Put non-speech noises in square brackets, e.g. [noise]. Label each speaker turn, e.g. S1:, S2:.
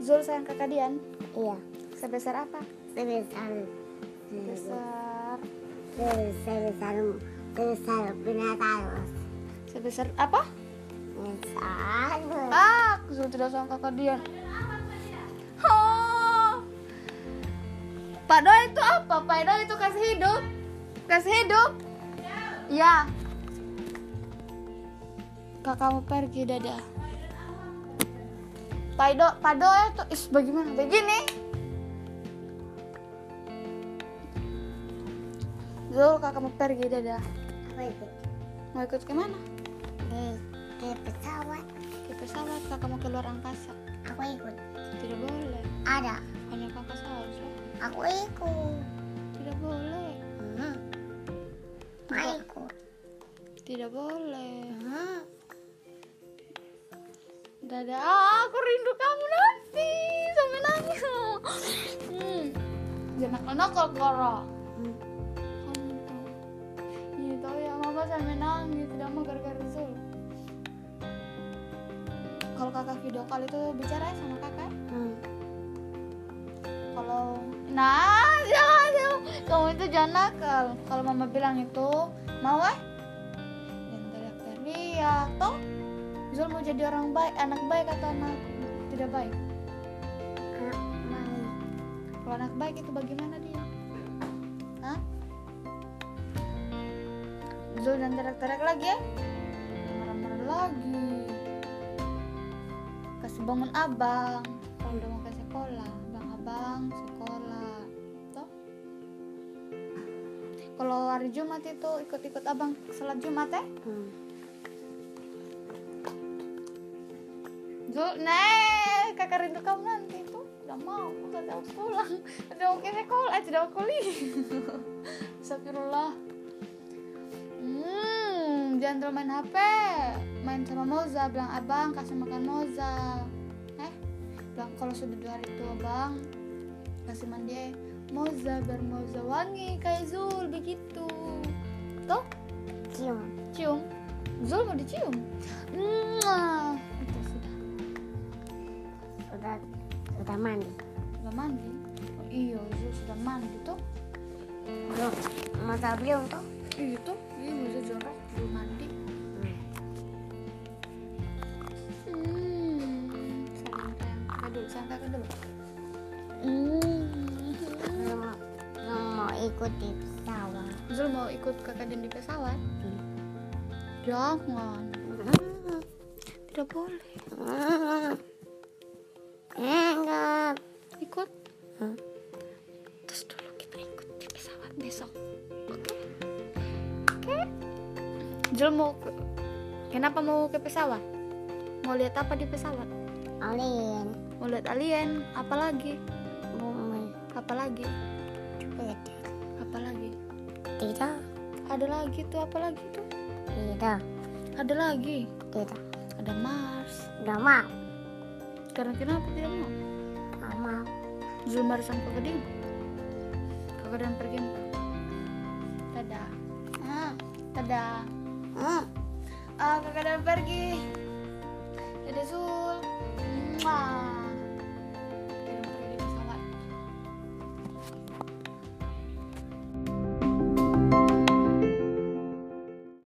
S1: betul sayang kakak Dian?
S2: Iya.
S1: Sebesar apa?
S2: Sebesar
S1: Sebesar
S2: sebesar sebesar binatang.
S1: sebesar apa?
S2: Besar.
S1: Ah, kesel tidak sama kakak Dian. Oh. Pak Doi itu apa? Pak Doi itu kasih hidup. Kasih hidup. Ya. Kakak mau pergi dadah. Pak Doi, Pak Doi itu is bagaimana? Begini. Zul, kakak mau pergi dadah.
S2: Apa itu?
S1: Mau ikut kemana?
S2: Eh, kayak pesawat.
S1: Ke pesawat, kakak mau keluar angkasa.
S2: Aku ikut.
S1: Tidak boleh.
S2: Ada.
S1: Hanya kakak saja.
S2: Aku ikut.
S1: Tidak boleh.
S2: Hmm. Aku ikut.
S1: Tidak boleh.
S2: Hmm.
S1: Dadah, ah, aku rindu kamu nanti. Sampai nangis. Hmm. Jangan nakal Koro.
S2: Hmm.
S1: Ini tahu ya, mama sampai nangis. Tidak mau gara-gara Zul. Kalau kakak video call itu bicara ya sama kakak.
S2: Hmm.
S1: Kalau nah, [laughs] jangan, jangan. Kamu itu jangan nakal. Kalau mama bilang itu, mau eh? Jangan teriak-teriak. "Iya, Toh, Zul mau jadi orang baik, anak baik atau anak tidak baik?
S2: Anak baik.
S1: Kalau anak baik itu bagaimana dia? Hah? Zul dan teriak-teriak lagi ya? Marah-marah lagi. Kasih bangun abang. Kalau udah mau ke sekolah, abang-abang sekolah. Toh? Kalau hari Jumat itu ikut-ikut abang salat Jumat ya?
S2: Hmm.
S1: Zul, nih kakak rindu kamu nanti itu udah mau, udah mau pulang, udah mau ke sekolah, eh, tidak mau kuliah. [laughs] Astagfirullah. Hmm, jangan terlalu main HP. Main sama Moza, bilang abang kasih makan Moza. Eh, bilang kalau sudah dua hari itu abang kasih mandi Moza biar Moza wangi kayak Zul begitu. Tuh,
S2: Cium.
S1: cium. Zul mau dicium. Mwah. Itu sudah.
S2: Sudah sudah mandi.
S1: Udah mandi? Oh, iya, Zul sudah mandi tuh.
S2: Belum. Masa belum tuh?
S1: Iya tuh, iya Zul jorok belum mandi.
S2: Hmm.
S1: Hmm, sayang dulu, sayang kakak dulu. Hmm.
S2: Belum mau- belum mau ikut di pesawat.
S1: Zul mau ikut kakak dan di pesawat?
S2: Hmm.
S1: Jangan,
S2: Hmm.
S1: tidak boleh.
S2: Enggak.
S1: Ikut.
S2: Hmm.
S1: Terus dulu kita ikut di pesawat besok. Oke? Oke? Zul mau ke- Kenapa mau ke pesawat? Mau lihat apa di pesawat?
S2: Alin,
S1: Mau lihat alien, apalagi?
S2: bumi,
S1: Apalagi?
S2: tidak,
S1: Apalagi?
S2: tidak,
S1: Ada lagi tuh, apalagi tuh?
S2: tidak,
S1: Ada lagi.
S2: tidak.
S1: Ada Mars.
S2: Udah mau,
S1: Karena kenapa tidak mau?
S2: udah mau.
S1: Zul Mars sama Kakak Dian. Kakak Dian pergi. Dadah. Ah, dadah.
S2: Hmm.
S1: Ah, Kakak Dian pergi. Dadah Zul. Mwah.